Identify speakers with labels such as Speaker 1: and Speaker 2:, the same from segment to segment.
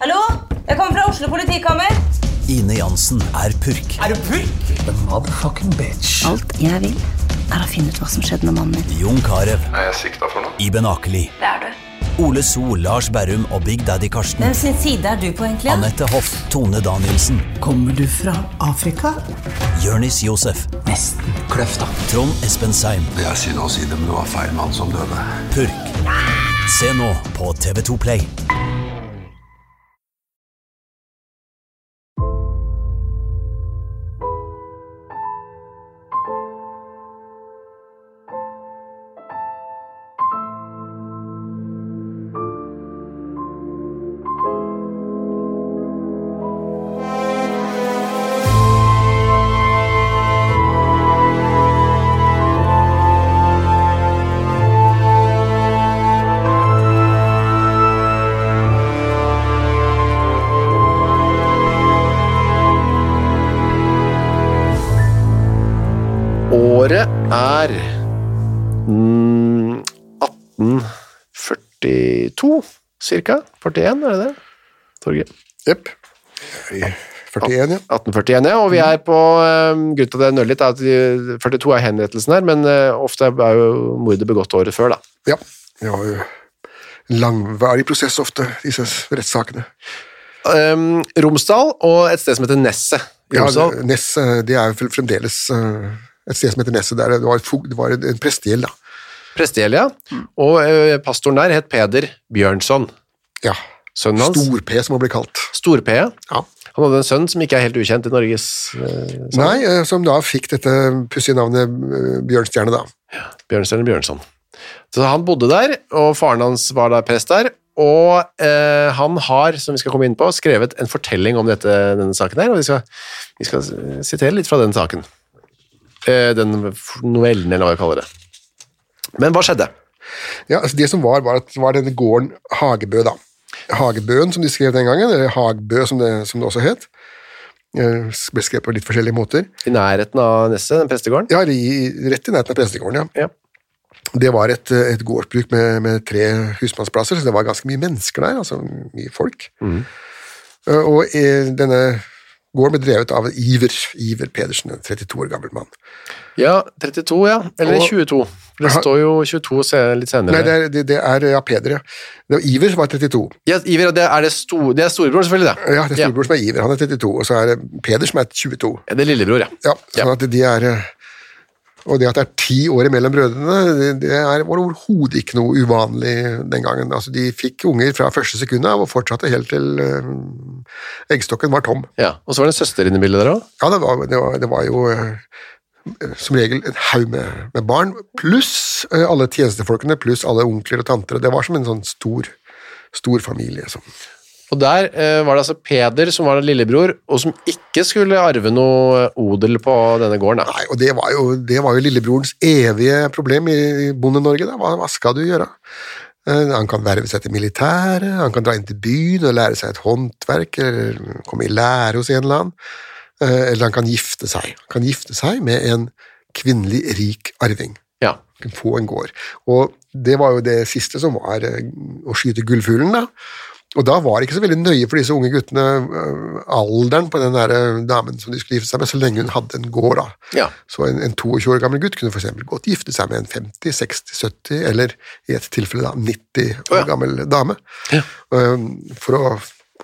Speaker 1: Hallo? Jeg kommer fra Oslo politikammer.
Speaker 2: Ine Jansen er purk.
Speaker 3: Er du purk?
Speaker 4: Alt jeg vil, er å finne ut hva som skjedde med mannen min.
Speaker 2: Jon Carew,
Speaker 5: er jeg sikta for noe?
Speaker 2: Iben Akeli. Det er du. Ole So, Lars Berrum og Big Daddy Karsten.
Speaker 1: Hvem sin side er du på, egentlig?
Speaker 2: Anette Hoff, Tone Danielsen,
Speaker 3: Kommer du fra Afrika?
Speaker 2: Jørnis Josef,
Speaker 3: Nesten. Kløfta.
Speaker 2: Trond Espen Seim,
Speaker 5: Det er synd å si det, men det var feil mann som døde.
Speaker 2: Purk. Se nå på TV2 Play.
Speaker 6: Året er mm, 1842, cirka. 41, er det det? Torgeir.
Speaker 7: Jepp. 41, ja.
Speaker 6: 1841, ja. Og vi er på um, Grunnen til at jeg nøler litt, er at de- 42 er henrettelsen her, men eh, ofte er jo mordet begått året før, da.
Speaker 7: Ja, vi har jo en langvarig prosess ofte, disse rettssakene.
Speaker 6: Um, Romsdal og et sted som heter Nesset. i
Speaker 7: Ja,
Speaker 6: Romsdal.
Speaker 7: det- Ness, eh, det er vel fremdeles eh, et sted som heter Nesset, der det var, fog- det var en en prestegjeld, da.
Speaker 6: Prestegjeld, ja. Og eh, pastoren der het Peder Bjørnson.
Speaker 7: Ja.
Speaker 6: Sønnen hans.
Speaker 7: Stor-P, som han ble kalt.
Speaker 6: Stor-P.
Speaker 7: Ja.
Speaker 6: Han hadde en sønn som ikke er helt ukjent i Norges eh, sammenheng.
Speaker 7: Nei, eh, som da fikk dette pussige navnet eh, Bjørnstjerne, da.
Speaker 6: Bjørnstjerne Bjørnson. Så han bodde der, og faren hans var da prest der, og eh, han har, som vi skal komme inn på, skrevet en fortelling om dette, denne saken her, og vi skal, vi skal sitere litt fra den saken. Eh, den novellen, eller hva jeg kaller det. Men hva skjedde?
Speaker 7: Ja, altså Det som var, var at var denne gården Hagebø, da. Hagebøen, som de skrev den gangen, eller Hagbø, som det, som det også het. Eh, Ble skrevet på litt forskjellige måter.
Speaker 6: I nærheten av Nesset, den prestegården?
Speaker 7: Ja, i, rett i nærheten av prestegården, ja.
Speaker 6: Ja.
Speaker 7: Det var et, eh, et gårdsbruk med, med tre husmannsplasser, så det var ganske mye mennesker der, altså mye folk. Eh, Og eh, denne gården ble drevet av Iver, Iver Pedersen, en 32 år gammel mann.
Speaker 6: Ja, 32, ja. Eller
Speaker 7: Og-
Speaker 6: 22. For Det står jo 22 se- litt senere.
Speaker 7: Nei, det er, det, det er ja, Peder, ja. Det var Iver som var 32.
Speaker 6: ja, Iver, det er, det, sto, det er storebror, selvfølgelig. Det.
Speaker 7: Ja, det er storebror som er Iver, han er 32, og så er det Peder som er 22.
Speaker 6: Ja, det er lillebror, ja.
Speaker 7: Ja, sånn at de er... eh, Og det at det er ti år mellom brødrene, det, det er, var overhodet ikke noe uvanlig den gangen. Altså, de fikk unger fra første sekund av og fortsatte helt til eh, eggstokken var tom.
Speaker 6: ja. Og så var det en søster inne i bildet der også.
Speaker 7: Ja, det var, det var, det var jo eh, som regel en haug med, med barn, pluss eh, alle tjenestefolkene, pluss alle onkler og tanter. og Det var som en sånn stor, stor familie. Som,
Speaker 6: Og der eh, var det altså Peder som var lillebror, og som ikke skulle arve noe eh, odel på denne gården. Da.
Speaker 7: Nei, og det var, jo, det var jo lillebrorens evige problem i i Bonde-Norge. da. Hva, hva skal du gjøre? Eh, Han kan verve seg til militæret, han kan dra inn til byen og lære seg et håndverk, eller komme i lære hos en eller annen. Eh, Eller han kan gifte seg. Han kan gifte seg med en kvinnelig rik arving.
Speaker 6: Ja.
Speaker 7: Han kan Få en gård. Og det var jo det siste som var eh, å skyte gullfuglen, da. Og da var det ikke så veldig nøye for disse unge guttene eh, alderen på den der eh, damen som de skulle gifte seg med, så lenge hun hadde en gård, da.
Speaker 6: Ja.
Speaker 7: Så en, en 22 år gammel gutt kunne for eksempel godt gifte seg med en 50, 60, 70 eller i et tilfelle da 90 år
Speaker 6: Å, ja.
Speaker 7: gammel dame um, for å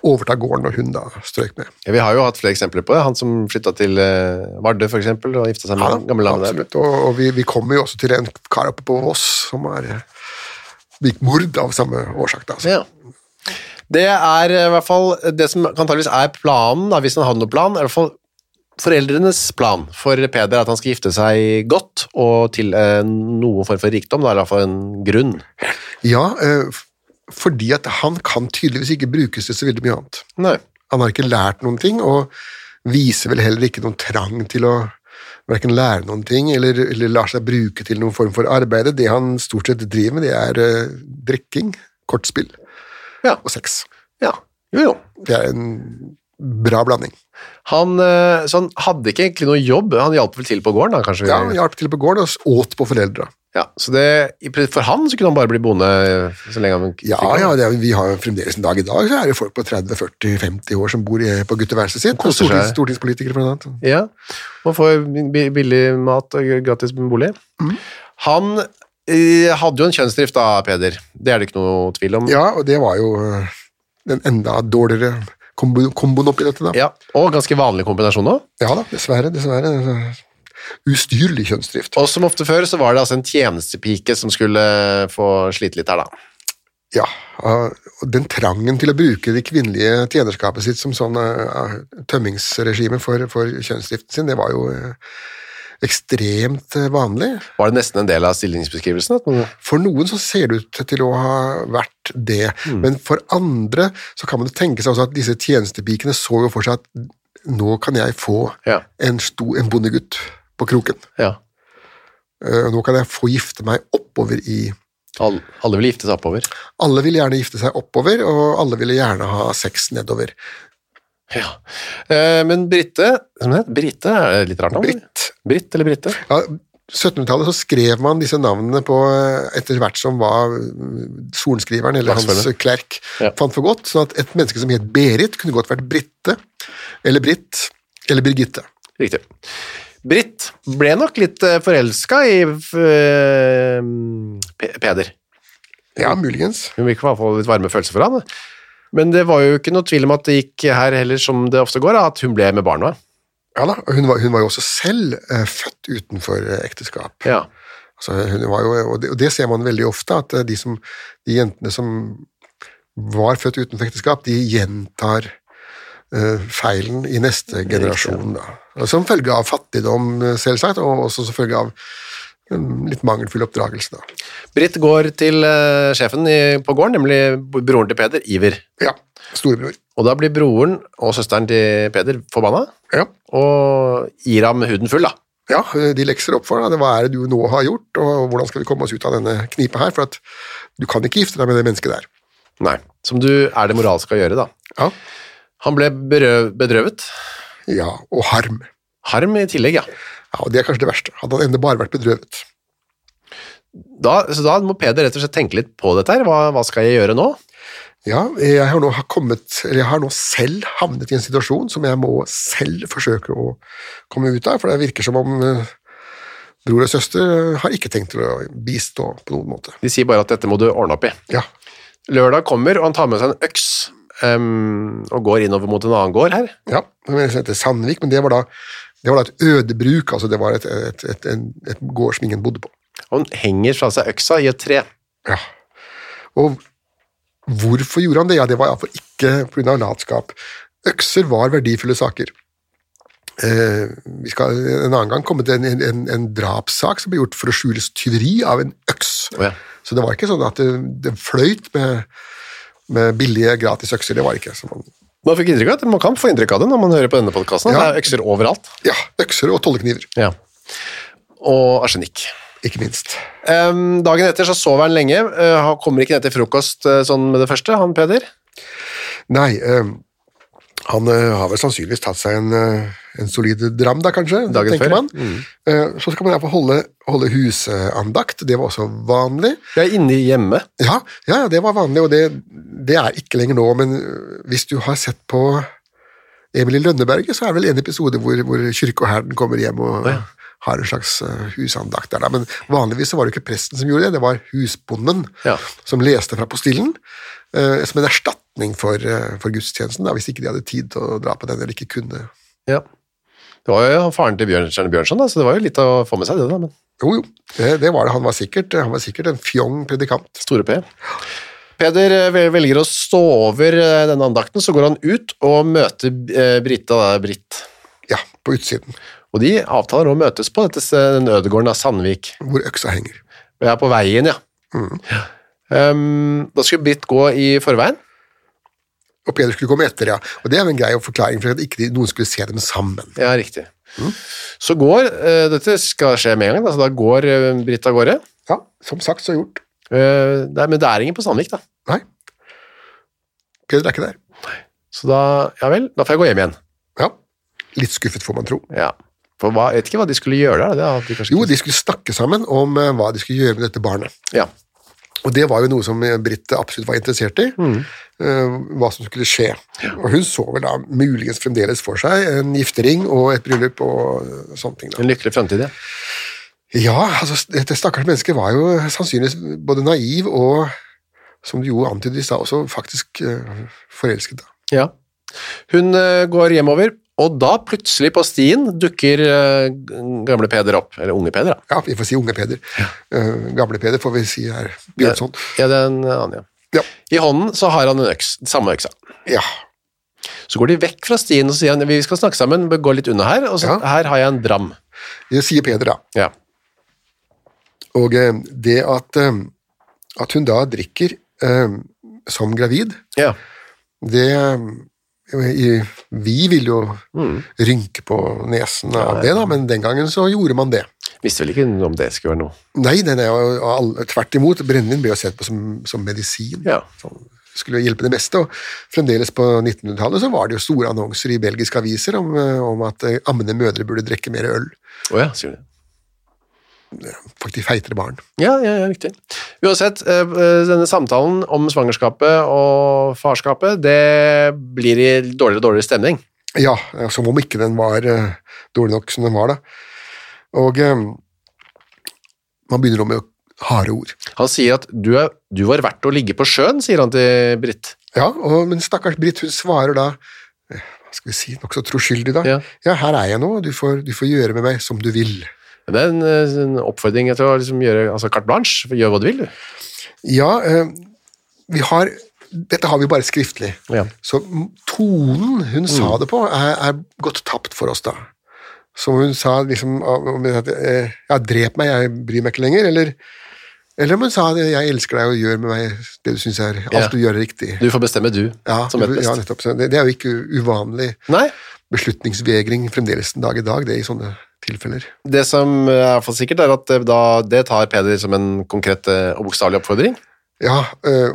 Speaker 7: overta gården når hun da strøk med.
Speaker 6: Ja, Vi har jo hatt flere eksempler på det. Han som flytta til eh, Vardø, for eksempel, og gifta seg med den gamle damen der.
Speaker 7: absolutt. Og, og vi, vi kommer jo også til en kar oppe på Voss som er eh, begikk mord av samme årsak. da. Altså.
Speaker 6: Ja. Det er eh, i hvert fall det som antageligvis er planen, da, hvis han hadde noen plan. er i hvert fall Foreldrenes plan for Peder er at han skal gifte seg godt og til eh, noen form for rikdom, da, eller i hvert fall en grunn.
Speaker 7: Ja, eh, f- fordi at han kan tydeligvis ikke brukes til så veldig mye annet.
Speaker 6: Nei.
Speaker 7: Han har ikke lært noen ting, og viser vel heller ikke noen trang til å hverken lære noen ting eller, eller lar seg bruke til noen form for arbeid. Det han stort sett driver med, det er eh, drikking, kortspill
Speaker 6: Ja.
Speaker 7: og sex.
Speaker 6: ja. Jo, jo.
Speaker 7: Det er en bra blanding.
Speaker 6: Han, eh, så han hadde ikke egentlig noe jobb, han hjalp vel til på gården da, kanskje?
Speaker 7: Ja, han hjalp til på gården og åt på foreldra.
Speaker 6: Ja, så det, i prin- for han så kunne han bare bli bonde eh, så lenge han fikk
Speaker 7: Ja, ja, det er, vi har jo fremdeles en dag i dag, så er det folk på 30-40-50 år som bor i, på gutteværelset sitt. Og
Speaker 6: koser
Speaker 7: stortings,
Speaker 6: seg.
Speaker 7: stortingspolitikere, blant annet.
Speaker 6: Ja, man får bi- billig mat og gratis bolig.
Speaker 7: Mm.
Speaker 6: Han eh, hadde jo en kjønnsdrift da, Peder. Det er det ikke noe tvil om.
Speaker 7: Ja, og det var jo øh, den enda dårligere kombo, komboen oppi dette, da.
Speaker 6: Ja, og ganske vanlig kombinasjon nå.
Speaker 7: Ja da, dessverre. dessverre. Ustyrlig kjønnsdrift.
Speaker 6: Og som ofte før så var det altså en tjenestepike som skulle eh, få slite litt her da.
Speaker 7: Ja, og Den trangen til å bruke det kvinnelige tjenerskapet sitt som sånn øh, tømmingsregime for, for kjønnsdriften sin, det var jo øh, ekstremt øh, vanlig.
Speaker 6: Var det nesten en del av stillingsbeskrivelsen? At man,
Speaker 7: For noen så ser det ut til å ha vært det, men for andre så kan man jo tenke seg også at disse tjenestepikene så jo for seg at nå kan jeg få
Speaker 6: Ja.
Speaker 7: en, sto, en bondegutt på kroken.
Speaker 6: ja,
Speaker 7: Eh, Nå kan jeg få gifte meg oppover i
Speaker 6: alle, alle ville gifte seg oppover.
Speaker 7: Alle vil gjerne gifte seg oppover, og alle ville gjerne ha sex nedover.
Speaker 6: Ja. Eh, men Britte, som det heter, Britte er det litt rart navn. eller?
Speaker 7: Britt.
Speaker 6: Britt eller Britte?
Speaker 7: Ja, 1700-tallet så skrev man disse navnene på eh, etter hvert som var mm, sorenskriveren eller hans
Speaker 6: Dagsfølge.
Speaker 7: klerk
Speaker 6: Ja.
Speaker 7: fant for godt, sånn at et menneske som het Berit kunne godt vært Britte, eller Britt, eller Birgitte.
Speaker 6: Riktig. Britt ble nok litt eh, forelska i eh, P- Peder.
Speaker 7: Ja, muligens.
Speaker 6: Hun virket i hvert fall litt varme følelser for han. Men det var jo ikke noe tvil om at det gikk her heller, som det ofte går, da, at hun ble med barna.
Speaker 7: Ja da, og hun var, hun var jo også selv eh, født utenfor eh, ekteskap.
Speaker 6: Ja.
Speaker 7: Altså, hun var jo, og, det, og det ser man veldig ofte, at eh, de, som, de jentene som var født utenfor ekteskap, de gjentar eh, feilen i neste generasjon. Da. Og Som følge av fattigdom, eh, selvsagt, og også som følge av mm, litt mangelfull oppdragelse. Da.
Speaker 6: Britt går til eh, sjefen i, på gården, nemlig broren til Peder, Iver.
Speaker 7: Ja, storebror.
Speaker 6: Og da blir broren og søsteren til Peder forbanna
Speaker 7: Ja.
Speaker 6: og gir ham huden full, da.
Speaker 7: Ja, eh, de lekser opp for deg. Hva er det du nå har gjort, og hvordan skal vi komme oss ut av denne knipa her? For at du kan ikke gifte deg med det mennesket der.
Speaker 6: Nei. Som du er det moralske å gjøre, da.
Speaker 7: Ja,
Speaker 6: Han ble berø- bedrøvet.
Speaker 7: ja og harm.
Speaker 6: Harm i tillegg, ja.
Speaker 7: Ja, og Det er kanskje det verste. Hadde han ennå bare vært bedrøvet.
Speaker 6: Da, så da må Peder rett og slett tenke litt på dette her. Hva, hva skal jeg gjøre nå?
Speaker 7: Ja, jeg har nå, har kommet, eller jeg har nå selv havnet i en situasjon som jeg må selv forsøke å komme ut av, for det virker som om eh, bror og søster eh, har ikke tenkt til å bistå på noen måte.
Speaker 6: De sier bare at dette må du ordne opp i.
Speaker 7: Ja,
Speaker 6: Lørdag kommer, og han tar med seg en øks ehm, og går innover mot en annen gård her.
Speaker 7: ja men det heter Sandvik, men det var da, det var da et ødebruk, altså det var et, et, et, en, et gård som ingen bodde på.
Speaker 6: Og han henger fra seg øksa i et tre.
Speaker 7: Ja. Og hvorfor gjorde han det? Ja, det var iallfall ikke pga. latskap. Økser var verdifulle saker. Eh, vi skal en annen gang komme til en, en, en, en drapssak som ble gjort for å skjules tyveri av en øks.
Speaker 6: Å ja.
Speaker 7: Så det var ikke sånn at det, det fløyt med, med billige gratis økser. Det var det ikke. sånn. Så man,
Speaker 6: Man, fikk inntrykk av det. man kan få inntrykk av det når man hører på denne podkasten.
Speaker 7: Ja.
Speaker 6: Det er økser overalt.
Speaker 7: ja, økser og tollekniver,
Speaker 6: Ja. Og arsenikk.
Speaker 7: ikke minst.
Speaker 6: Ehm, dagen etter så sover han lenge. eh, han kommer ikke ned til frokost eh, sånn med det første, han Peder.
Speaker 7: Nei, eh, han eh, har vel sannsynligvis tatt seg en, eh, en solid dram, da kanskje,
Speaker 6: Dagen
Speaker 7: tenker
Speaker 6: før, Mm.
Speaker 7: man. Eh, så skal man iallfall holde, holde husandakt, det var også vanlig.
Speaker 6: Jeg er inne hjemme.
Speaker 7: Ja, ja, ja, det var vanlig, og det, det er ikke lenger nå, men eh, hvis du har sett på Emil i Lønneberget, så er det vel en episode hvor, hvor kirke og herden kommer hjem og har en slags eh, husandakt der, da. Men vanligvis så var det ikke presten som gjorde det, det var husbonden
Speaker 6: Ja.
Speaker 7: som leste fra postillen, eh, som en erstatning for, eh, for gudstjenesten, da, hvis ikke de hadde tid til å dra på den, eller ikke kunne.
Speaker 6: Ja. Det var jo faren til Bjørnstjerne Bjørnson, da, så det var jo litt å få med seg det. da, men...
Speaker 7: Jo, jo, det, det var det. Han var sikkert, øh, han var sikkert en fjong predikant.
Speaker 6: Store P. Peder eh, vel- velger å stå over eh, denne andakten, så går han ut og møter eh, Brita, da, Britt.
Speaker 7: Ja, på utsiden,
Speaker 6: Og de avtaler å møtes på dette, s- den ødegården av Sandvik.
Speaker 7: hvor øksa henger.
Speaker 6: Og jeg er på Mm. Ehm, veien, ja. Ja. Um, da skulle Britt gå i forveien.
Speaker 7: Og Peder skulle komme etter, ja. Og det er jo en grei forklaring for at ikke de- noen skulle se dem sammen.
Speaker 6: Ja, riktig. Så går eh, Dette skal skje med en gang. Altså, da går eh, Britt av gårde.
Speaker 7: Ja, som sagt, så gjort.
Speaker 6: Eh, det er, men det er ingen på Sandvik, da.
Speaker 7: Nei. Peder er ikke der.
Speaker 6: Så da Ja vel, da får jeg gå hjem igjen.
Speaker 7: Ja. Litt skuffet, får man tro.
Speaker 6: Ja. For hva, jeg vet ikke hva de skulle gjøre der. Det hadde de kanskje
Speaker 7: Jo,
Speaker 6: ikke-
Speaker 7: de skulle snakke sammen om eh, hva de skulle gjøre med dette barnet.
Speaker 6: Ja.
Speaker 7: Og det var jo noe som eh, Britt absolutt var interessert i, eh, hva som skulle skje. Og hun så vel da muligens fremdeles for seg en giftering og et bryllup og eh, sånne ting. da.
Speaker 6: En lykkelig framtid, ja.
Speaker 7: Ja, altså, dette stakkars mennesket var jo sannsynligvis både naiv og, som du jo antydet i stad, også faktisk eh, forelsket. da.
Speaker 6: ja. Hun eh, går hjemover, og da plutselig på stien dukker eh, g- gamle Peder opp. Eller unge Peder, da.
Speaker 7: Ja, vi får si unge Peder. Eh, gamle Peder får vi si her. Bjørnson.
Speaker 6: Ja, det er en annen, ja.
Speaker 7: sånn. Ja.
Speaker 6: I hånden så har han en øks. Samme øksa.
Speaker 7: ja.
Speaker 6: Så går de vekk fra stien og så sier han, vi skal snakke sammen, vi går litt unna her, og så
Speaker 7: Ja.
Speaker 6: her har jeg en dram.
Speaker 7: Det sier Peder, da.
Speaker 6: Ja.
Speaker 7: Og eh, det at, eh, at hun da drikker eh, som gravid,
Speaker 6: Ja.
Speaker 7: det eh, i- Vi ville jo rynke på nesen av det, da, men den gangen så gjorde man det.
Speaker 6: Visste vel ikke om det skulle være noe.
Speaker 7: Nei, den er jo all- tvert imot. Brennevin ble jo sett på som, som medisin.
Speaker 6: Ja.
Speaker 7: Sånn, skulle hjelpe det meste, og fremdeles på 1900-tallet så var det jo store annonser i belgiske aviser om, eh, om at eh, ammende mødre burde drikke mer øl.
Speaker 6: Åja, sier du det.
Speaker 7: Faktisk feitere barn.
Speaker 6: Ja, ja, ja, riktig. Uansett, eh, eh, denne samtalen om svangerskapet og farskapet, det blir i dårligere og dårligere stemning.
Speaker 7: Ja, eh, som om ikke den var eh, dårlig nok som den var, da. Og eh, man begynner om med harde ord.
Speaker 6: Han sier at du, er, du var verdt å ligge på sjøen, sier han til Britt.
Speaker 7: Ja, og, men stakkars Britt, hun svarer da eh, hva skal vi si, nokså troskyldig, da.
Speaker 6: Ja.
Speaker 7: her er jeg nå, og du får, du får gjøre med meg som du vil.
Speaker 6: Det er en, eh, en oppfordring til å liksom gjøre altså carte blanche, gjør hva du vil, du.
Speaker 7: Ja, eh, vi har Dette har vi bare skriftlig.
Speaker 6: Ja.
Speaker 7: Så m- tonen
Speaker 6: Mm.
Speaker 7: hun sa det på, er, er gått tapt for oss da. Som hun sa liksom av- om at eh, Ja, drep meg, jeg bryr meg ikke lenger. Eller, eller om hun sa det, jeg elsker deg og gjør med meg det du syns er Alt
Speaker 6: Ja.
Speaker 7: du gjør, er riktig.
Speaker 6: Du får bestemme du,
Speaker 7: ja,
Speaker 6: som vet best.
Speaker 7: ja, nettopp. Så Det, det er jo ikke u- uvanlig
Speaker 6: Nei,
Speaker 7: beslutningsvegring fremdeles en dag i dag, det i sånne tilfeller.
Speaker 6: det som eh, er for sikkert er at eh, da, det tar Peder som en konkret eh, og bokstavelig oppfordring.
Speaker 7: Ja, eh,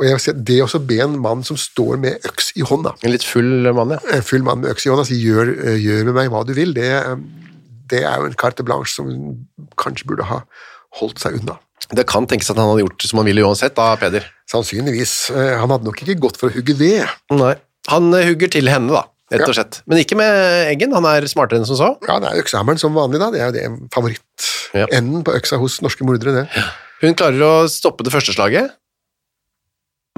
Speaker 7: og jeg vil si at det å så be en mann som står med øks i hånda
Speaker 6: En litt full mann, ja.
Speaker 7: en Eh, full mann med øks i hånda og sier gjør, eh, gjør med meg hva du vil, det, eh, det er jo en carte blanche som hun kanskje burde ha holdt seg unna.
Speaker 6: Det kan tenkes at han hadde gjort som han ville uansett, da, Peder.
Speaker 7: Sannsynligvis. Eh, Han hadde nok ikke gått for å hugge ved.
Speaker 6: Nei. Han eh, hugger til henne, da, rett og
Speaker 7: Ja.
Speaker 6: slett. Men ikke med eggen, han er smartere enn som så.
Speaker 7: Ja, det er øksehammeren som vanlig, da. Det er jo det
Speaker 6: Ja.
Speaker 7: favorittenden på øksa hos norske mordere, det.
Speaker 6: Hun klarer å stoppe det første slaget,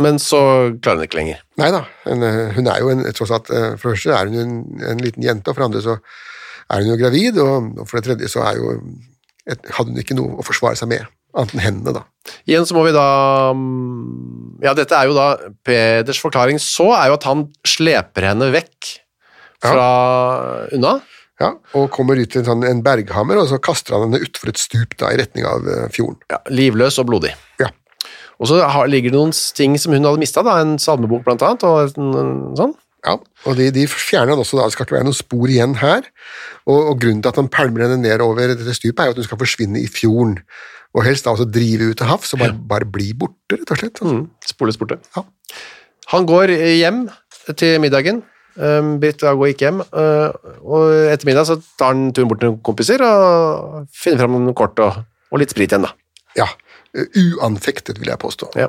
Speaker 6: men så klarer hun ikke lenger.
Speaker 7: Nei da, en, eh, hun er jo en, tross alt eh, For det første er hun jo en, en liten jente, og for det andre så er hun jo gravid, og, og for det tredje så er jo et, hadde hun ikke noe å forsvare seg med, annet enn hendene, da.
Speaker 6: Igjen så må vi da mm, Ja, dette er jo da Peders forklaring så er jo at han sleper henne vekk fra unna.
Speaker 7: Ja, og kommer ut til en, sånn, en berghammer, og så kaster han henne utfor et stup da, i retning av eh, fjorden.
Speaker 6: Ja, livløs og blodig.
Speaker 7: Ja.
Speaker 6: Og så har, ligger det noen ting som hun hadde mista, en salmebok blant annet, og en, en, sånn.
Speaker 7: Ja, og de, de fjerner han også da, det skal ikke være noen spor igjen her. Og, og grunnen til at han pælmer henne ned over dette stupet, er jo at hun skal forsvinne i fjorden. Og helst da også drive ut til havs, og bare, bare bli borte, rett og slett. Altså.
Speaker 6: Spoles borte.
Speaker 7: Ja.
Speaker 6: Han går hjem til middagen. Um, Britt og jeg går ikke hjem. Uh, og etter middag så tar han turen bort til noen kompiser og finner fram noen kort og, og litt sprit igjen, da.
Speaker 7: Ja, eh, uanfektet, vil jeg påstå.
Speaker 6: Ja.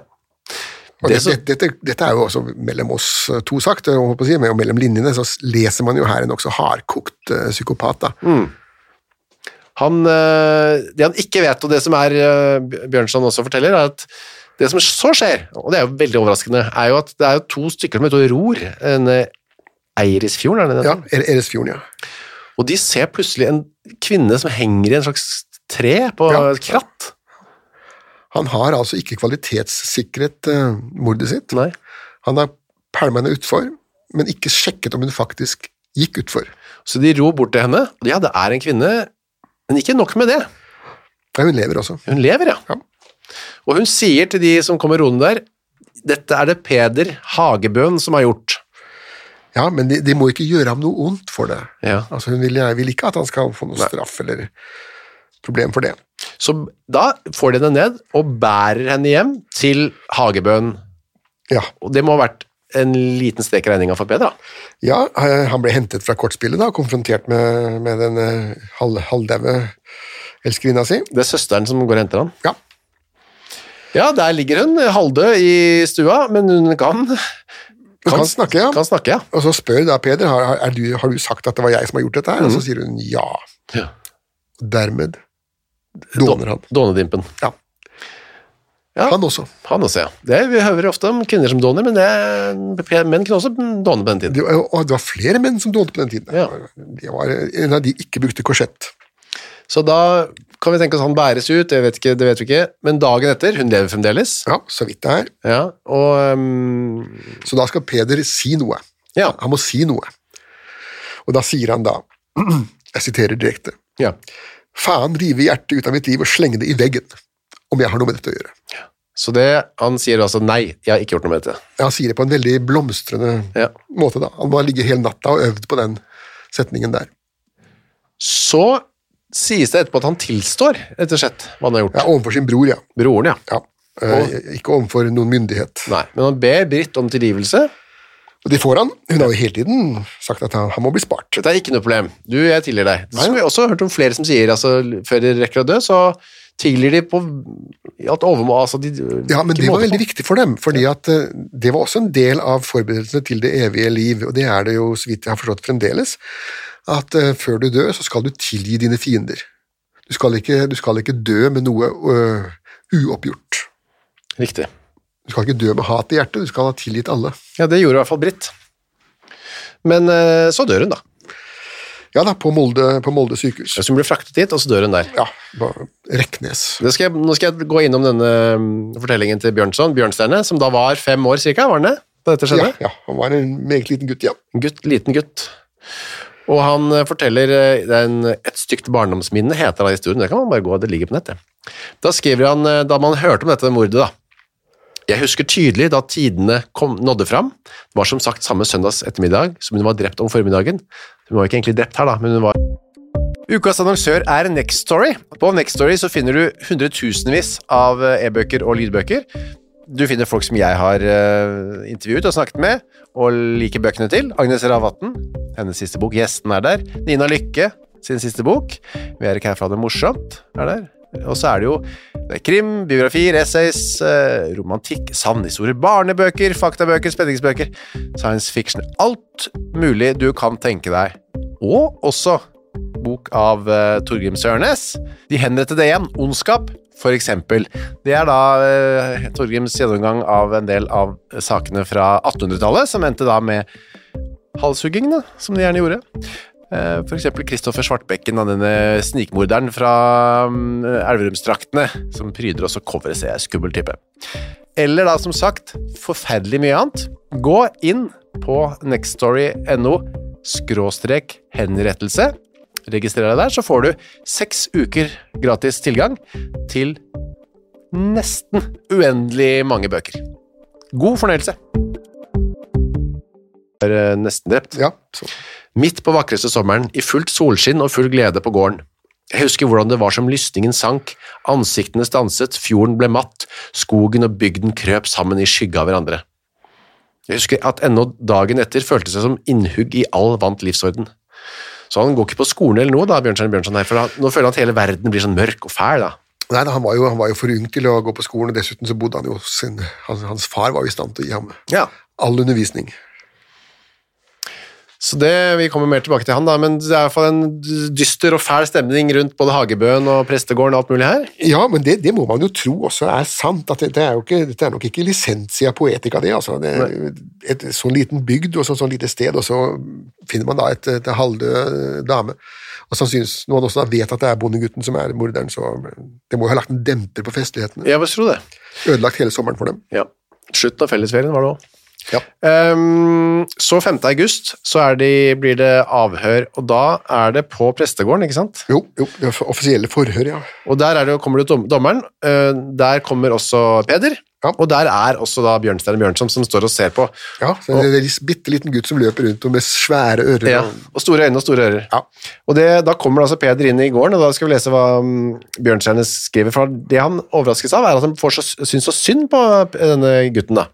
Speaker 7: Og
Speaker 6: Det
Speaker 7: det,
Speaker 6: som-
Speaker 7: dette, dette er jo også mellom oss eh, to sagt, jeg holdt på å si, men jo mellom linjene så s- leser man jo her en også hardkokt eh, psykopat, da.
Speaker 6: Han, øh, det han ikke vet, og det som er øh, Bjørnson også forteller, er at det som så skjer, og det er jo veldig overraskende, er jo at det er jo to stykker som heter Ror, en øh, Eirisfjorden, er det det?
Speaker 7: Ja,
Speaker 6: heter?
Speaker 7: Er- Eresfjorden, ja.
Speaker 6: Og de ser plutselig en kvinne som henger i en slags tre på
Speaker 7: Ja.
Speaker 6: et kratt.
Speaker 7: Han har altså ikke kvalitetssikret eh, mordet sitt.
Speaker 6: Nei.
Speaker 7: Han har pælma henne utfor, men ikke sjekket om hun faktisk gikk utfor.
Speaker 6: Så de ror bort til henne, og ja, det er en kvinne, men ikke nok med det.
Speaker 7: Nei, hun lever også.
Speaker 6: Hun lever, ja.
Speaker 7: Ja.
Speaker 6: Og hun sier til de som kommer roende der, Dette er det Peder Hagebøen som har gjort.
Speaker 7: Ja, men de, de må ikke gjøre ham noe ondt for det.
Speaker 6: Ja.
Speaker 7: Altså, hun vil, vil ikke at han skal få noe straff eller problem for det.
Speaker 6: Så da får de henne ned og bærer henne hjem til Hagebøen.
Speaker 7: Ja,
Speaker 6: Og det må ha vært en liten strek i regninga for Peder, da.
Speaker 7: ja eh, han ble hentet fra kortspillet da, og konfrontert med, med den eh, halv, halvdaue elskerinna si.
Speaker 6: Det er søsteren som går og henter han.
Speaker 7: Ja,
Speaker 6: Ja, der ligger hun, halvdød i stua, men hun kan
Speaker 7: hun kan, snakke, ja.
Speaker 6: Kan snakke, ja.
Speaker 7: Og så spør da Peder, har, har- er du, har du sagt at det var jeg som har gjort dette her?
Speaker 6: Mhm.
Speaker 7: Og så sier hun ja.
Speaker 6: Ja.
Speaker 7: Dermed dåner han.
Speaker 6: Dånedimpen.
Speaker 7: Ja.
Speaker 6: Ja.
Speaker 7: Han også.
Speaker 6: Han også, ja. Det, vi hører ofte om kvinner som dåner, men det, menn kunne også dåne på den tiden.
Speaker 7: Det, var- og det var flere menn som dånte på den tiden.
Speaker 6: Ja.
Speaker 7: Det var, en av de ikke brukte korsett.
Speaker 6: Så da kan vi tenke oss han bæres ut, det vet, ikke, det vet vi ikke. Men dagen etter, hun lever fremdeles.
Speaker 7: Ja, så vidt det er.
Speaker 6: Ja, og um,
Speaker 7: Så da skal Peder si noe.
Speaker 6: Ja.
Speaker 7: Han må si noe. Og da sier han da, jeg siterer direkte,
Speaker 6: ja.
Speaker 7: faen rive hjertet ut av mitt liv og slenge det i veggen, om jeg har noe med dette å gjøre.
Speaker 6: Så det, han sier altså nei, jeg har ikke gjort noe med dette.
Speaker 7: Han sier det på en veldig blomstrende
Speaker 6: Ja.
Speaker 7: måte da. Han må ha ligget hele natta og øvd på den setningen der.
Speaker 6: Så sies det etterpå at han tilstår, rett og slett, hva han har gjort.
Speaker 7: Ja, overfor sin bror, ja.
Speaker 6: Broren, ja.
Speaker 7: ja. Eh, ikke overfor noen myndighet.
Speaker 6: Nei, men han ber Britt om tilgivelse.
Speaker 7: Og det får han. Hun har jo hele tiden sagt at han, han må bli spart.
Speaker 6: Dette er ikke noe problem. Du, jeg tilgir deg.
Speaker 7: Nei,
Speaker 6: Så har vi også hørt om flere som sier, altså, før de rekker å dø, så tilgir de på i alt overmål. Altså, de,
Speaker 7: Ja, men
Speaker 6: ikke
Speaker 7: det var
Speaker 6: måte
Speaker 7: veldig
Speaker 6: på.
Speaker 7: viktig for dem, fordi at eh, det var også en del av forberedelsene til det evige liv, og det er det jo, så vidt jeg har forstått fremdeles, at eh, før du dør, så skal du tilgi dine fiender. Du skal ikke, du skal ikke dø med noe øh, uoppgjort.
Speaker 6: Riktig.
Speaker 7: Du skal ikke dø med hat i hjertet, du skal ha tilgitt alle.
Speaker 6: Ja, det gjorde i hvert fall Britt. Men eh, så dør hun, da.
Speaker 7: Ja da, på Molde, på Molde sykehus.
Speaker 6: Så hun blir fraktet dit, og så dør hun der.
Speaker 7: Ja, ba- Reknes.
Speaker 6: Det skal jeg, nå skal jeg gå innom denne mm, fortellingen til Bjørnson, Bjørnstjerne, som da var fem år cirka, var han det? Da dette skjedde?
Speaker 7: Ja, ja, han var en meget liten gutt, ja.
Speaker 6: En gutt, liten gutt. Og han eh, forteller eh, det er en, et stygt barndomsminne, heter han i historien. Det kan man bare gå, det ligger på nettet. Da skriver han, eh, da man hørte om dette mordet da, jeg husker tydelig da tidene kom, nådde fram. Det var som sagt samme søndags ettermiddag som hun var drept om formiddagen. Hun var ikke egentlig drept her da, men hun var... Ukas annonsør er Next Story. På Next Story så finner du hundretusenvis av eh, e-bøker og lydbøker. Du finner folk som jeg har eh, intervjuet og snakket med, og liker bøkene til. Agnes Ravatn, hennes siste bok. Gjesten er der. Nina Lykke, sin siste bok. Vi er ikke herfra det er morsomt, er der. Og så er det jo det er krim, biografier, essays, eh, romantikk, sannhistorier, barnebøker, faktabøker, spenningsbøker, science fiction. Alt mulig du kan tenke deg. Og også bok av eh, Torgrim Sørnes. De henrettede igjen, ondskap, for eksempel. Det er da eh, Torgrims gjennomgang av en del av sakene fra 1800-tallet, som endte da med halshugging, da, som de gjerne gjorde. Eh, For eksempel Kristoffer Svartbekken, da, denne snikmorderen fra mm, Elverumsdraktene, som pryder oss og coveret seg, skummel type. Eller da, som sagt, forferdelig mye annet. Gå inn på nextstory.no skråstrek henrettelse. Registrer deg der, så får du seks uker gratis tilgang til nesten uendelig mange bøker. God fornøyelse! Er eh, nesten drept.
Speaker 7: Ja, så.
Speaker 6: Midt på vakreste sommeren, i fullt solskinn og full glede på gården. Jeg husker hvordan det var som lysningen sank, ansiktene stanset, fjorden ble matt, skogen og bygden krøp sammen i skygge av hverandre. Jeg husker at ennå dagen etter følte seg som innhugg i all vant livsorden. Så han går ikke på skolen eller noe, da, Bjørnstein Bjørnson her, for han, nå føler han at hele verden blir sånn mørk og fæl, da.
Speaker 7: Nei, da, han, var jo, han var jo for ung til å gå på skolen, og dessuten så bodde han jo hos sin, hans, hans far var jo i stand til å gi ham
Speaker 6: Ja.
Speaker 7: all undervisning.
Speaker 6: Så det, Vi kommer mer tilbake til han, da, men det er i hvert fall en dyster og fæl stemning rundt både Hagebøen og prestegården og alt mulig her.
Speaker 7: Ja, men det, det må man jo tro også er sant, at dette er, jo ikke, dette er nok ikke lisensia poetica det, altså. Det, et sånn liten bygd og så, sånn lite sted, og så finner man da et, et halvdød eh, dame. Og sannsynligvis, når man også da vet at det er bondegutten som er morderen, så det må jo ha lagt en demper på festlighetene.
Speaker 6: Jeg vil tro det.
Speaker 7: Ødelagt hele sommeren for dem.
Speaker 6: Ja. Slutten av fellesferien var det òg.
Speaker 7: Ja.
Speaker 6: Ehm, så 5. august så er de, blir det avhør, og da er det på prestegården, ikke sant?
Speaker 7: Jo, jo, det er offisielle forhør, ja.
Speaker 6: Og der er det, jo- kommer det jo dom- dommeren, eh, der kommer også Peder,
Speaker 7: Ja.
Speaker 6: og der er også da Bjørnstein Bjørnson som står og ser på.
Speaker 7: ja så det er en bitte liten gutt som løper rundt og med svære ører.
Speaker 6: Ja,
Speaker 7: og-
Speaker 6: og store øyne og store ører.
Speaker 7: Ja.
Speaker 6: Og det, da kommer altså Peder inn i gården, og da skal vi lese hva mm, Bjørnstjerne skriver. For det han overraskes av, er at han får så, syns så synd på eh, denne gutten. da.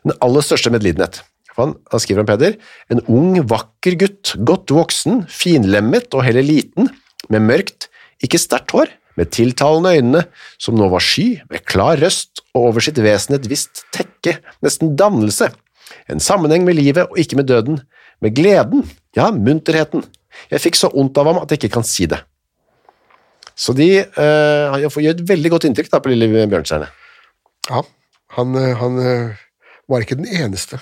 Speaker 6: Den aller største medlidenhet. For Han, han skriver om Peder. En ung, vakker gutt, godt voksen, finlemmet og heller liten, med mørkt, ikke sterkt hår, med tiltalende øynene, som nå var sky, med klar røst og over sitt vesen et visst tekke, nesten dannelse. En sammenheng med livet og ikke med døden. Med gleden, ja, munterheten. Jeg fikk så ondt av ham at jeg ikke kan si det. Så de eh, gjør et veldig godt inntrykk da, på lille Bjørnstjerne.
Speaker 7: Ja, han, eh, han eh, var ikke den eneste.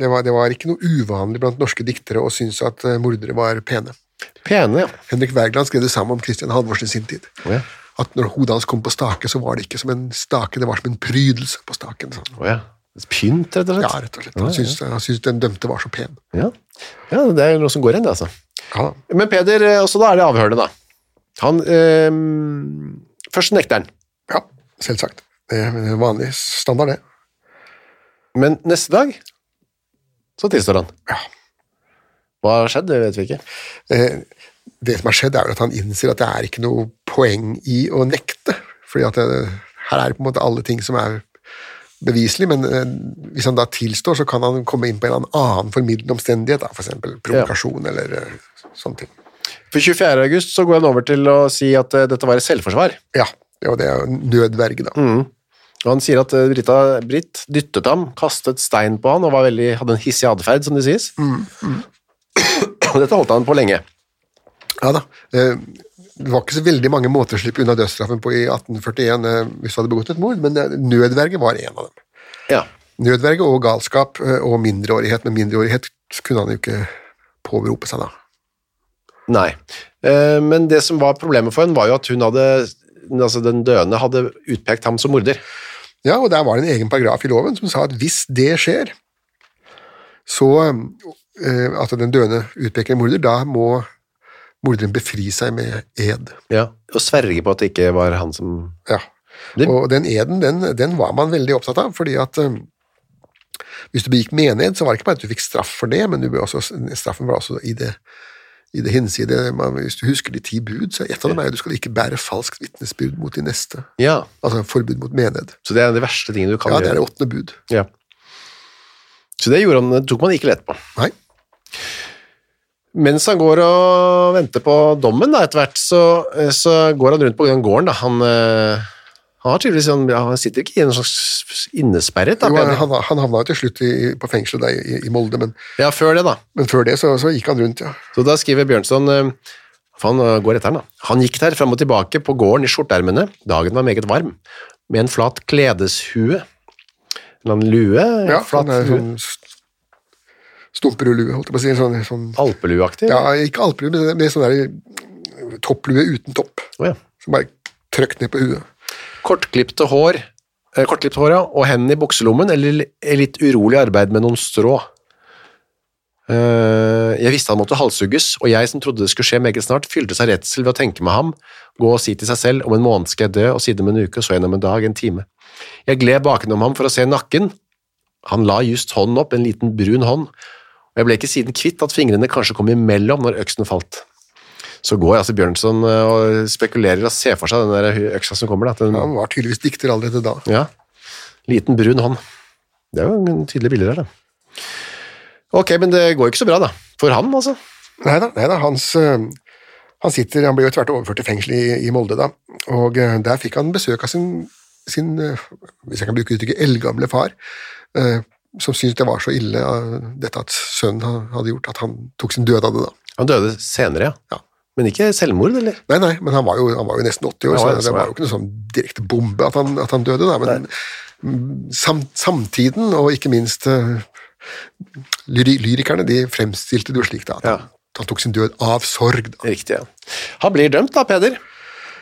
Speaker 7: Det var, det var ikke noe uvanlig blant norske diktere å synes at eh, mordere var pene.
Speaker 6: Pene, ja.
Speaker 7: Henrik Wergeland skrev det samme om Christian Halvorsen i sin tid.
Speaker 6: Å ja.
Speaker 7: At når hodet hans kom på stake, så var det ikke som en stake, det var som en prydelse på staken. Sånn.
Speaker 6: Å, ja. Pynt, rett og slett.
Speaker 7: Ja, rett og slett. Han syntes, han syntes den dømte var så pen.
Speaker 6: Ja. ja, det er jo noe som går igjen, det, altså.
Speaker 7: Ja, da.
Speaker 6: Men Peder, eh, også da er det avhørende, da. Han eh, Først nekter han,
Speaker 7: ja selvsagt. Det er vanlig standard, det.
Speaker 6: men neste dag så tilstår han.
Speaker 7: Ja.
Speaker 6: Hva har skjedd, det vet vi ikke.
Speaker 7: Eh, det som har skjedd, er vel at han innser at det er ikke noe poeng i å nekte. Fordi at det, her er det på en måte alle ting som er beviselig, men eh, hvis han da tilstår, så kan han komme inn på en eller annen formidlende omstendighet, da, for eksempel provokasjon eller eh, sånne ting.
Speaker 6: For 24. august så går han over til å si at eh, dette var et selvforsvar.
Speaker 7: Ja, og det er jo nødverge, da.
Speaker 6: Og han sier at eh, Brita, Britt dyttet ham, kastet stein på han og var veldig, hadde en hissig atferd, som det sies. Og dette holdt han på lenge.
Speaker 7: Ja da. Eh, Det var ikke så veldig mange måter å slippe unna dødsstraffen på i 1841 eh, hvis du hadde begått et mord, men eh, nødverge var en av dem.
Speaker 6: Ja.
Speaker 7: Nødverge og galskap eh, og mindreårighet, men mindreårighet kunne han jo ikke påberope seg da.
Speaker 6: Nei. Eh, Men det som var problemet for henne, var jo at hun hadde Altså, den døende hadde utpekt ham som morder.
Speaker 7: Ja, og der var det en egen paragraf i loven som sa at hvis det skjer, så eh, at den døende utpeker en morder, da må morderen befri seg med ed.
Speaker 6: Ja. Og sverge på at det ikke var han som
Speaker 7: Ja.
Speaker 6: Det-
Speaker 7: Og den eden, den, den var man veldig opptatt av, fordi at eh, hvis du begikk mened, så var det ikke bare at du fikk straff for det, men du ble også, straffen var også i det, i det hinside. Man, hvis du husker de ti bud, så er et av dem er jo du skal ikke bære falskt vitnesbyrd mot din neste.
Speaker 6: Ja.
Speaker 7: Altså forbud mot mened.
Speaker 6: Så det er de verste tingene du kan
Speaker 7: Ja, det
Speaker 6: gjøre.
Speaker 7: er det åttende bud.
Speaker 6: Ja. Så det gjorde han, det tok man ikke lett på.
Speaker 7: Nei.
Speaker 6: Mens han går og venter på dommen da, etter hvert, så, eh, så går han rundt på den gården. Da. Han, eh, han, har tydeligvis, han, ja, han sitter ikke i en slags innesperret. Da,
Speaker 7: Jo,
Speaker 6: Peder.
Speaker 7: han, han havna jo til slutt i, på fengselet der i, i Molde, men,
Speaker 6: Ja, før det da.
Speaker 7: men før det så, så gikk han rundt, ja.
Speaker 6: Så da skriver Bjørnson eh, for han eh, går etter han da. Han gikk der frem og tilbake på gården i skjortermene. Dagen var meget varm. Med en flat kledeshue. En eller annen lue. en
Speaker 7: ja
Speaker 6: flat
Speaker 7: sånn, eh,
Speaker 6: lue.
Speaker 7: sånn st- stumperulue, holdt jeg på å si. Sånn, sånn,
Speaker 6: Alpelueaktig.
Speaker 7: ja, ikke alpelue, men med sånn der topplue uten topp,
Speaker 6: Å, ja.
Speaker 7: som bare trøkt ned på huet.
Speaker 6: Kortklipte hår, eh, kortklipt hår, ja, og hendene i bukselommen, eller li- eh, litt urolig arbeid med noen strå. Eh, Jeg visste han måtte halshugges, og jeg som trodde det skulle skje meget snart, fylte seg redsel ved å tenke med ham, gå og si til seg selv, om en måned skal jeg dø, og siden om en uke, og så igjen om en dag, en time. Jeg gled bakenom ham for å se nakken. Han la just hånden opp, en liten brun hånd, og jeg ble ikke siden kvitt at fingrene kanskje kom imellom når øksen falt. Så går altså Bjørnson eh, og spekulerer og ser for seg den der hu- øksa som kommer. Da, at den,
Speaker 7: Han var tydeligvis dikter allerede da.
Speaker 6: ja. Liten brun hånd. Det er jo en tydelig bilde der, da. Ok, men det går ikke så bra, da. For han, altså.
Speaker 7: Nei da, hans... eh, han sitter, han ble jo tvert overført til fengsel i, i Molde da, og eh, der fikk han besøk av sin, sin eh, hvis jeg kan bruke uttrykket, eldgamle far, eh, som syntes det var så ille eh, dette at sønnen han hadde gjort, at han tok sin død av det da.
Speaker 6: Han døde senere, ja.
Speaker 7: Ja.
Speaker 6: Men ikke selvmord, eller?
Speaker 7: Nei, nei, men han var jo, han var jo nesten 80 år,
Speaker 6: Ja,
Speaker 7: så
Speaker 6: altså,
Speaker 7: det var
Speaker 6: ja.
Speaker 7: jo ikke noe sånn direkte bombe at han, at han døde, da, men mm, sam, samtiden, og ikke minst eh, lyri, lyrikerne, de fremstilte det jo slik da, at
Speaker 6: Ja.
Speaker 7: han, han tok sin død av sorg. Da.
Speaker 6: Riktig, ja. Han blir dømt, da, Peder.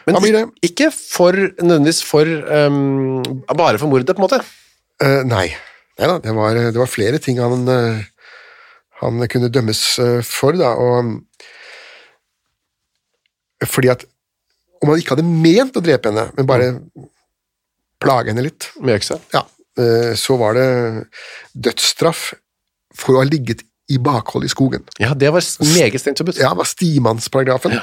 Speaker 6: Men
Speaker 7: Han blir det.
Speaker 6: ikke for, nødvendigvis for ehm, Bare for mordet, på en måte.
Speaker 7: Eh, nei, Neida, det var, det var flere ting han, eh, han kunne dømmes eh, for, da, og fordi at om han ikke hadde ment å drepe henne, men bare plage henne litt,
Speaker 6: Med økse.
Speaker 7: ja, eh, så var det dødsstraff for å ha ligget i bakhold i skogen.
Speaker 6: Ja, det var s- meget strengt forbudt.
Speaker 7: Ja, det var stimannsparagrafen.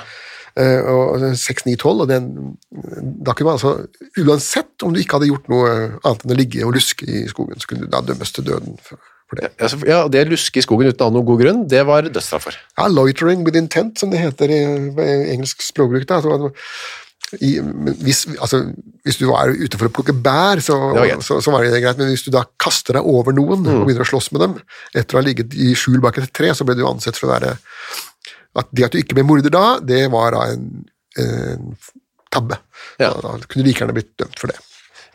Speaker 7: eh, og 6912, og den, da kunne man altså, uansett om du ikke hadde gjort noe annet enn å ligge og luske i skogen, så kunne du da dømmes til døden for, for det.
Speaker 6: Ja, så- ja, og det luske i skogen uten å ha noen god grunn, det var dødsstraff for.
Speaker 7: Ja, loitering with intent, som det heter i, i engelsk språkbruk. Da. Altså, i, men hvis, altså, hvis du var ute for å plukke bær, så
Speaker 6: Det var
Speaker 7: var,
Speaker 6: greit.
Speaker 7: så, så var det greit, men hvis du da kaster deg over noen og begynner å slåss med dem, etter å ha ligget i skjul bak et tre, så ble du ansett for å være at Det at du ikke ble morder da, det var da en, en tabbe.
Speaker 6: Ja.
Speaker 7: Da, da kunne du like gjerne blitt dømt for det.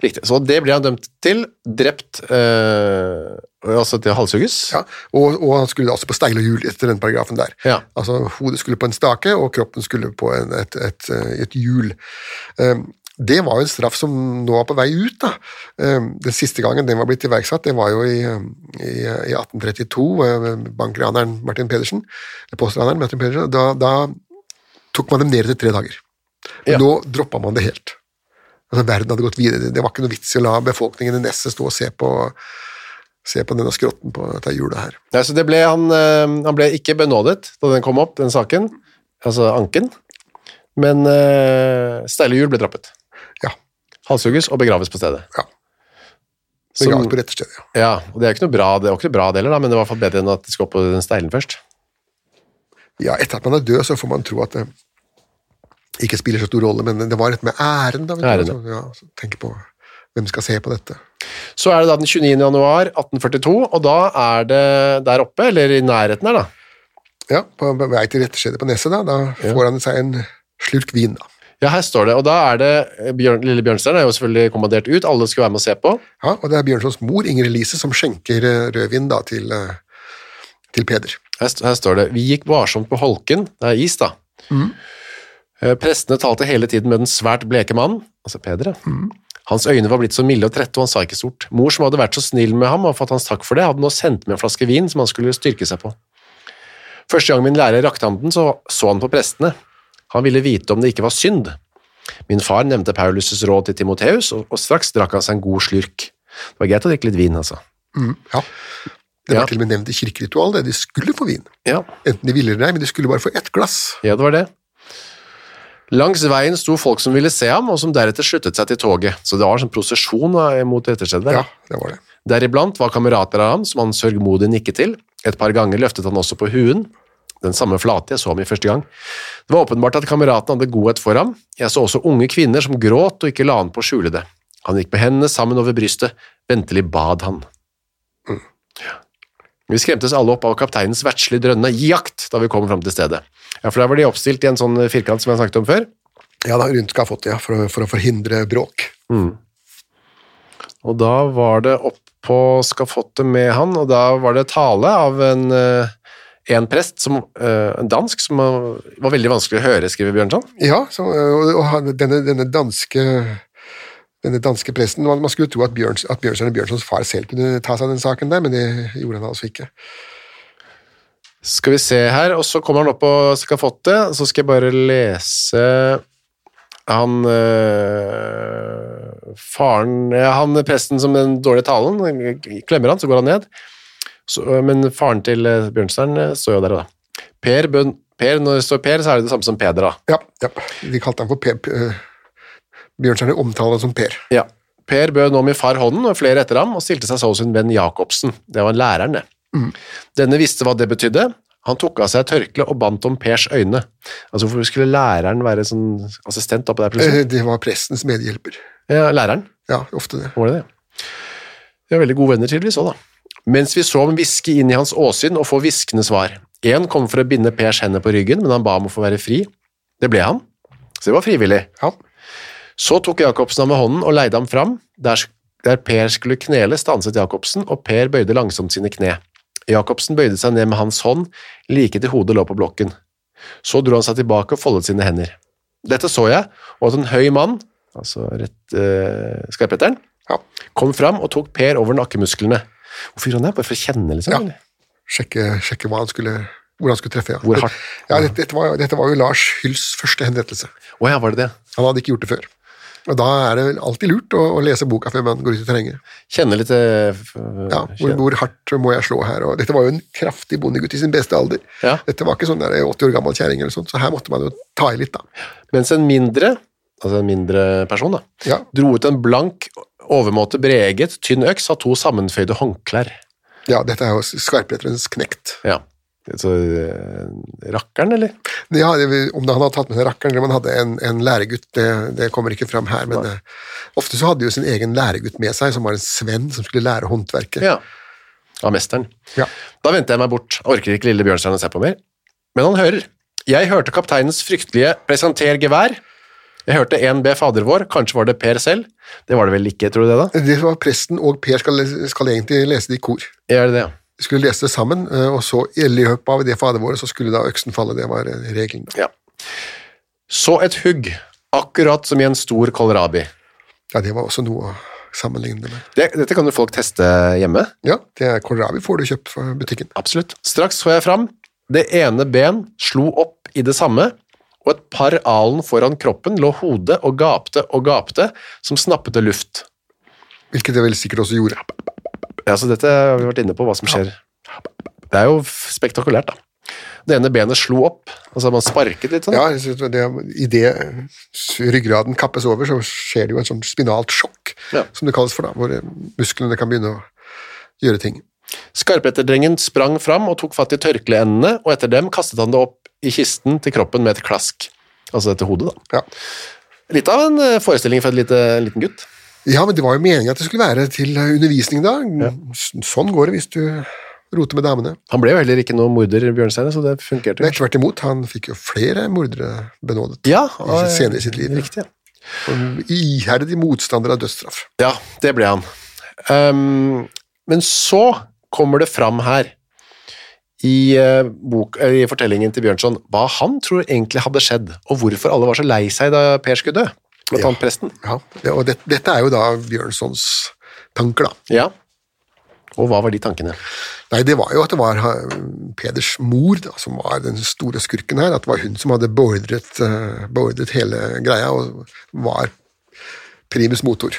Speaker 6: Riktig. Så det ble han dømt til. Drept eh, Altså til å halshugges.
Speaker 7: Ja, og, og han skulle da også på steilehjul etter den paragrafen der.
Speaker 6: Ja.
Speaker 7: Altså hodet skulle på en stake, og kroppen skulle på en, et, et, eh, et hjul. Ehm, Det var jo en straff som nå var på vei ut. da. Ehm, Den siste gangen den var blitt iverksatt, det var jo i, eh, i, eh, i 1832, eh, bankraneren Martin Pedersen, eller postraneren Martin Pedersen, da, da tok man dem ned til tre dager. Men
Speaker 6: Ja.
Speaker 7: nå droppa man det helt. Altså, verden hadde gått videre. Det var ikke noe vits i å la befolkningen i Nesset stå og se på, se på denne skrotten på dette hjulet her.
Speaker 6: Nei, så det ble han, eh, han ble ikke benådet da den kom opp, den saken. Altså anken. Men eh, steile hjul ble drappet.
Speaker 7: Ja.
Speaker 6: Halshugges og begraves på stedet.
Speaker 7: ja.
Speaker 6: Som-
Speaker 7: Begravet på rette stedet, ja.
Speaker 6: Ja, og Det er ikke noe bra, det var ikke noe bra deler, da, men det var i hvert fall bedre enn at de skal opp på den steilen først.
Speaker 7: ja. Etter at man er død, så får man tro at det ikke spiller så stor rolle, men det var et med æren, da. Vet
Speaker 6: Æren,
Speaker 7: du, altså, ja, så tenk på hvem skal se på dette.
Speaker 6: Så er det da den 29. januar 1842, og da er det der oppe, eller i nærheten her, da.
Speaker 7: Ja, På vei til rette stedet på Nesset, da, da får han seg en slurk vin, da.
Speaker 6: Ja, her står det, og da er det Bjørn, Lille Bjørnstjerne er jo selvfølgelig kommandert ut, alle skulle være med og se på.
Speaker 7: Ja, og det er Bjørnsons mor, Inger Elise, som skjenker eh, rødvin da, til, eh, til Peder.
Speaker 6: Her, st- her står det Vi gikk varsomt på holken, det er is, da. Eh, Prestene talte hele tiden med den svært bleke mannen, altså Peder, ja. Hans øyne var blitt så milde og trette, og han sa ikke stort. Mor, som hadde vært så snill med ham og fått hans takk for det, hadde nå sendt med en flaske vin som han skulle styrke seg på. Første gang min lærer rakte ham den, så så han på prestene. Han ville vite om det ikke var synd. Min far nevnte Paulus' råd til Timoteus, og, og straks drakk han seg en god slurk. Det var greit å drikke litt vin, altså.
Speaker 7: Ja. Det var
Speaker 6: Ja.
Speaker 7: til og med nevnt i kirkeritual, det. De skulle få vin.
Speaker 6: Ja,
Speaker 7: Enten de ville eller nei, men de skulle bare få ett glass.
Speaker 6: Ja, det var det. Langs veien sto folk som ville se ham, og som deretter sluttet seg til toget. Så det var en sånn prosesjon da, mot etterstedet der.
Speaker 7: Ja, det var det.
Speaker 6: Deriblant var kamerater av ham, som han sørgmodig nikket til. Et par ganger løftet han også på huen, den samme flate jeg så ham i første gang. Det var åpenbart at kameraten hadde godhet for ham. Jeg så også unge kvinner som gråt og ikke la an på å skjule det. Han gikk med hendene sammen over brystet, ventelig bad han. Ja. Vi skremtes alle opp av kapteinens verdslige drønne jakt da vi kom fram til stedet. Ja, for der var de oppstilt i en sånn firkant som jeg snakket om før.
Speaker 7: Ja, da, rundt skafottet, ja, for, å- for å forhindre bråk.
Speaker 6: Og da var det opp på skafottet med han, og da var det tale av en, eh, en prest, som, eh, en dansk, som var var veldig vanskelig å høre, skriver Bjørnson.
Speaker 7: Ja, så, og, og han- denne, denne danske denne danske presten, Man man skulle tro at, Bjørns, at Bjørnstjerne Bjørnsons far selv kunne ta seg av den saken, der, men det gjorde han altså ikke.
Speaker 6: Skal vi se her, og så kommer han opp på skafottet, så skal jeg bare lese han eh, faren, ja, han presten som den dårlige talen, klemmer han, så går han ned. Så, men faren til eh, Bjørnstjerne eh, står jo der og da. Per, bønn, per, når det står Per, så er det det samme som Peder da.
Speaker 7: Ja, ja. De kalte han for Per. eh, Bjørnstjerne omtaler han som Per.
Speaker 6: Ja. Per bød nå min far hånden og flere etter ham, og stilte seg så hos sin venn Jacobsen. Det var læreren, det. Denne visste hva det betydde. Han tok av seg tørkleet og bandt om Pers øyne. Altså, Hvorfor skulle læreren være sånn assistent oppe der plutselig?
Speaker 7: Eh, Det var prestens medhjelper.
Speaker 6: Ja, læreren.
Speaker 7: Ja, ofte det.
Speaker 6: Var det det? De var veldig gode venner tydeligvis òg, da. Mens vi så ham hviske inn i hans åsyn og få hviskende svar. Én kom for å binde Pers hender på ryggen, men han ba om å få være fri. Det ble han. Så det var frivillig.
Speaker 7: Ja.
Speaker 6: Så tok Jacobsen ham med hånden og leide ham fram. Der, der Per skulle knele, stanset Jacobsen, og Per bøyde langsomt sine kne. Jacobsen bøyde seg ned med hans hånd, like til hodet lå på blokken. Så dro han seg tilbake og foldet sine hender. Dette så jeg, og at en høy mann, altså rett, eh, skarpretteren,
Speaker 7: Ja.
Speaker 6: kom fram og tok Per over nakkemusklene. Hvorfor gjorde han det? Bare for å kjenne, liksom?
Speaker 7: Ja.
Speaker 6: eller?
Speaker 7: Sjekke, sjekke hva han skulle, hvor han skulle treffe. Ja.
Speaker 6: Hvor hardt?
Speaker 7: Ja, dette, dette, var, dette var jo Lars Hylls første henrettelse.
Speaker 6: Å ja, var det det?
Speaker 7: Han hadde ikke gjort det før. Og Da er det vel alltid lurt å, å lese boka før man går ut i terrenget.
Speaker 6: Kjenne litt eh, f-
Speaker 7: Ja, hvor,
Speaker 6: kjenne-
Speaker 7: hvor hardt må jeg slå her? Og dette var jo en kraftig bondegutt i sin beste alder.
Speaker 6: Ja.
Speaker 7: Dette var ikke sånn der 80 år gammel kjerring, eller sånt, så her måtte man jo ta i litt, da.
Speaker 6: Mens en mindre, altså en mindre person, da,
Speaker 7: Ja.
Speaker 6: dro ut en blank, overmåte breget, tynn øks av to sammenføyde håndklær.
Speaker 7: Ja, dette er jo skarpleterens knekt.
Speaker 6: Ja. Så eh, rakkeren, eller?
Speaker 7: Ja, det- om han hadde tatt med seg rakkeren eller om han hadde en, en læregutt, det, det kommer ikke fram her, men eh, ofte så hadde de jo sin egen læregutt med seg, som var en svenn som skulle lære håndverket.
Speaker 6: Ja. Av mesteren.
Speaker 7: Ja.
Speaker 6: Da vendte jeg meg bort. Orker ikke lille Bjørnstjerne å se på mer. Men han hører. Jeg hørte kapteinens fryktelige 'presenter gevær'. Jeg hørte en be fader vår, kanskje var det Per selv. Det var det vel ikke, tror du det, da?
Speaker 7: Det var presten og Per skal, skal egentlig lese det i kor.
Speaker 6: Er det det? ja?
Speaker 7: De skulle lese det sammen, eh, og så i løpet av det fader våre, så skulle da øksen falle. Det var eh, regelen. da.
Speaker 6: Ja. Så et hugg, akkurat som i en stor kålrabi.
Speaker 7: Ja, det var også noe å sammenligne det med.
Speaker 6: Det, dette kan jo folk teste hjemme.
Speaker 7: Ja, det er kålrabi får du kjøpt fra butikken.
Speaker 6: Absolutt. Straks så jeg fram. Det ene ben slo opp i det samme, og et par alen foran kroppen lå hodet og gapte og gapte, som snappete luft.
Speaker 7: Hvilket jeg vel sikkert også gjorde.
Speaker 6: Ja, så dette har vi vært inne på, hva som skjer. Det er jo f- spektakulært, da. Det ene benet slo opp, altså man sparket litt sånn.
Speaker 7: Ja, jeg synes det, Idet ryggraden kappes over, så skjer det jo en sånn spinalt sjokk,
Speaker 6: Ja.
Speaker 7: som det kalles for, da, hvor eh, musklene kan begynne å gjøre ting.
Speaker 6: Skarpretterdrengen sprang fram og tok fatt i tørkleendene, og etter dem kastet han det opp i kisten til kroppen med et klask. Altså etter hodet, da.
Speaker 7: Ja.
Speaker 6: Litt av en eh, forestilling for en lite, liten gutt.
Speaker 7: ja, men det var jo meningen at det skulle være til eh, undervisning, da. S- Sånn går det hvis du roter med damene.
Speaker 6: Han ble jo heller ikke noe morder, Bjørnsteine, så det funkerte.
Speaker 7: Nei, tvert imot, han fikk jo flere mordere benådet.
Speaker 6: Ja,
Speaker 7: i sitt- senere i sitt liv.
Speaker 6: Riktig, ja.
Speaker 7: Og Iherdig motstander av dødsstraff.
Speaker 6: Ja, det ble han. Ehm, men så kommer det fram her i, eh, bok, eh, i fortellingen til Bjørnson hva han tror egentlig hadde skjedd, og hvorfor alle var så lei seg da Per skulle dø, blant annet presten.
Speaker 7: Ja, det, og det, dette er jo da Bjørnsons tanker, da.
Speaker 6: Ja. Og hva var de tankene?
Speaker 7: Nei, det var jo at det var ha, Peders mor da, som var den store skurken her. At det var hun som hadde beordret, eh, beordret hele greia og var primus motor.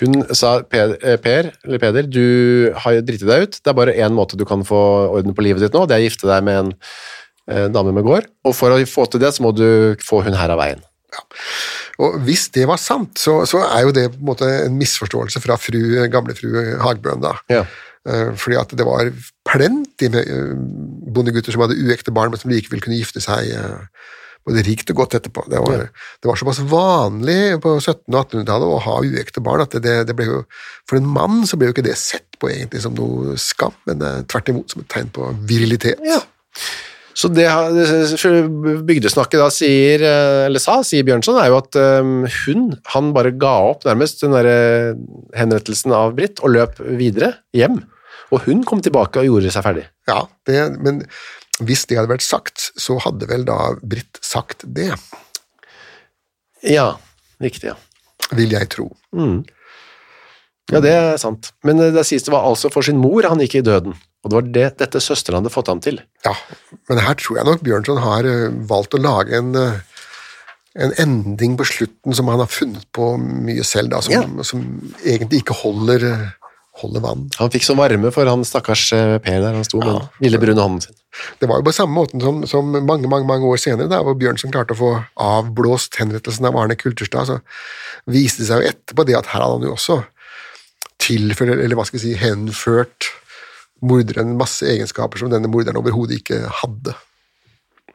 Speaker 6: Hun sa, per, eh, per, eller Peder, du har jo driti deg ut, det er bare én måte du kan få orden på livet ditt nå, det er å gifte deg med en eh, dame med gård, og for å få til det så må du få hun her av veien.
Speaker 7: Og hvis det var sant, så, så er jo det på en måte en misforståelse fra fru, gamle fru Hagbøen, da.
Speaker 6: Ja.
Speaker 7: Eh, Fordi at det var plenty med eh, bondegutter som hadde uekte barn, men som likevel kunne gifte seg eh, både rikt og godt etterpå. Det var, det var såpass vanlig på 1700- og 1800-tallet å ha uekte barn at det- det, det ble jo For en mann så ble jo ikke det sett på egentlig som noe skam, men eh, tvert imot som et tegn på virilitet.
Speaker 6: Ja. Så det ha- bygdesnakket da sier, eh, eller sa, sier Bjørnson, er jo at eh, hun, han bare ga opp nærmest den der eh, henrettelsen av Britt, og løp videre hjem. Og hun kom tilbake og gjorde seg ferdig.
Speaker 7: Ja, det, men hvis det hadde vært sagt, så hadde vel da Britt sagt det,
Speaker 6: Ja, riktig, ja.
Speaker 7: vil jeg tro.
Speaker 6: Ja, det er sant. Men eh, det sies det var altså for sin mor han gikk i døden. Og det var det dette søsteren hadde fått ham til.
Speaker 7: Ja, men her tror jeg nok Bjørnson har eh, valgt å lage en, eh, en ending på slutten som han har funnet på mye selv, da, som,
Speaker 6: Ja.
Speaker 7: som egentlig ikke holder, eh, holder vann.
Speaker 6: Han fikk så varme for han stakkars eh, Per der han sto med den lille brune hånden sin.
Speaker 7: Det var jo på samme måten som, som mange mange, mange år senere, da, hvor Bjørnson klarte å få avblåst henrettelsen av Arne Kulterstad, så viste det seg jo etterpå det at her hadde han jo også tilført, eller hva skal vi si, henført morderen masse egenskaper som denne morderen overhodet ikke hadde.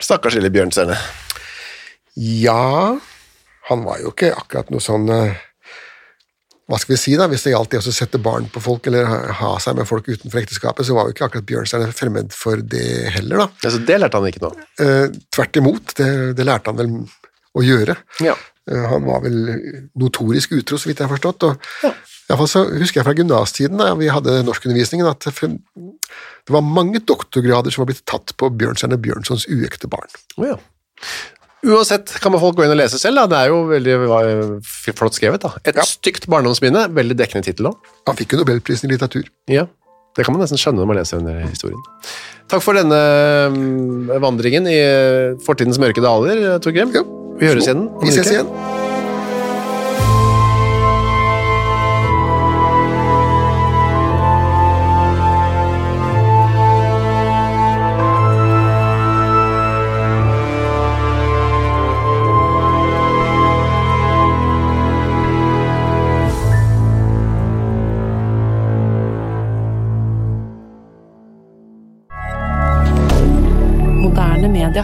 Speaker 6: Stakkars lille Bjørnstjerne.
Speaker 7: Ja, han var jo ikke akkurat noe sånn eh, Hva skal vi si, da? Hvis det gjaldt det å sette barn på folk, eller ha- ha seg med folk utenfor ekteskapet, så var jo ikke akkurat Bjørnstjerne fremmed for det heller, da.
Speaker 6: Ja, så Altså, det lærte han ikke nå.
Speaker 7: Eh, tvert imot, det, det lærte han vel å gjøre.
Speaker 6: Ja.
Speaker 7: Eh, han var vel notorisk utro, så vidt jeg har forstått. og i hvert fall så husker jeg fra gymnastiden, da vi hadde norskundervisningen, at det fun- det var mange doktorgrader som var blitt tatt på Bjørnstjerne Bjørnsons uekte barn.
Speaker 6: Å ja. Uansett kan man folk gå inn og lese selv. Da. Det er jo veldig eh, f- flott skrevet. da. Et
Speaker 7: Ja.
Speaker 6: stygt barndomsminne. Veldig dekkende tittel òg.
Speaker 7: Han fikk jo nobelprisen i litteratur.
Speaker 6: Ja. Det kan man nesten skjønne når man leser denne historien. Takk for denne mm, vandringen i eh, fortidens mørke daler, Torgrim.
Speaker 7: Ja.
Speaker 6: Vi høres igjen. om en
Speaker 7: Vi ses
Speaker 6: uke.
Speaker 7: igjen.
Speaker 8: Moderne media.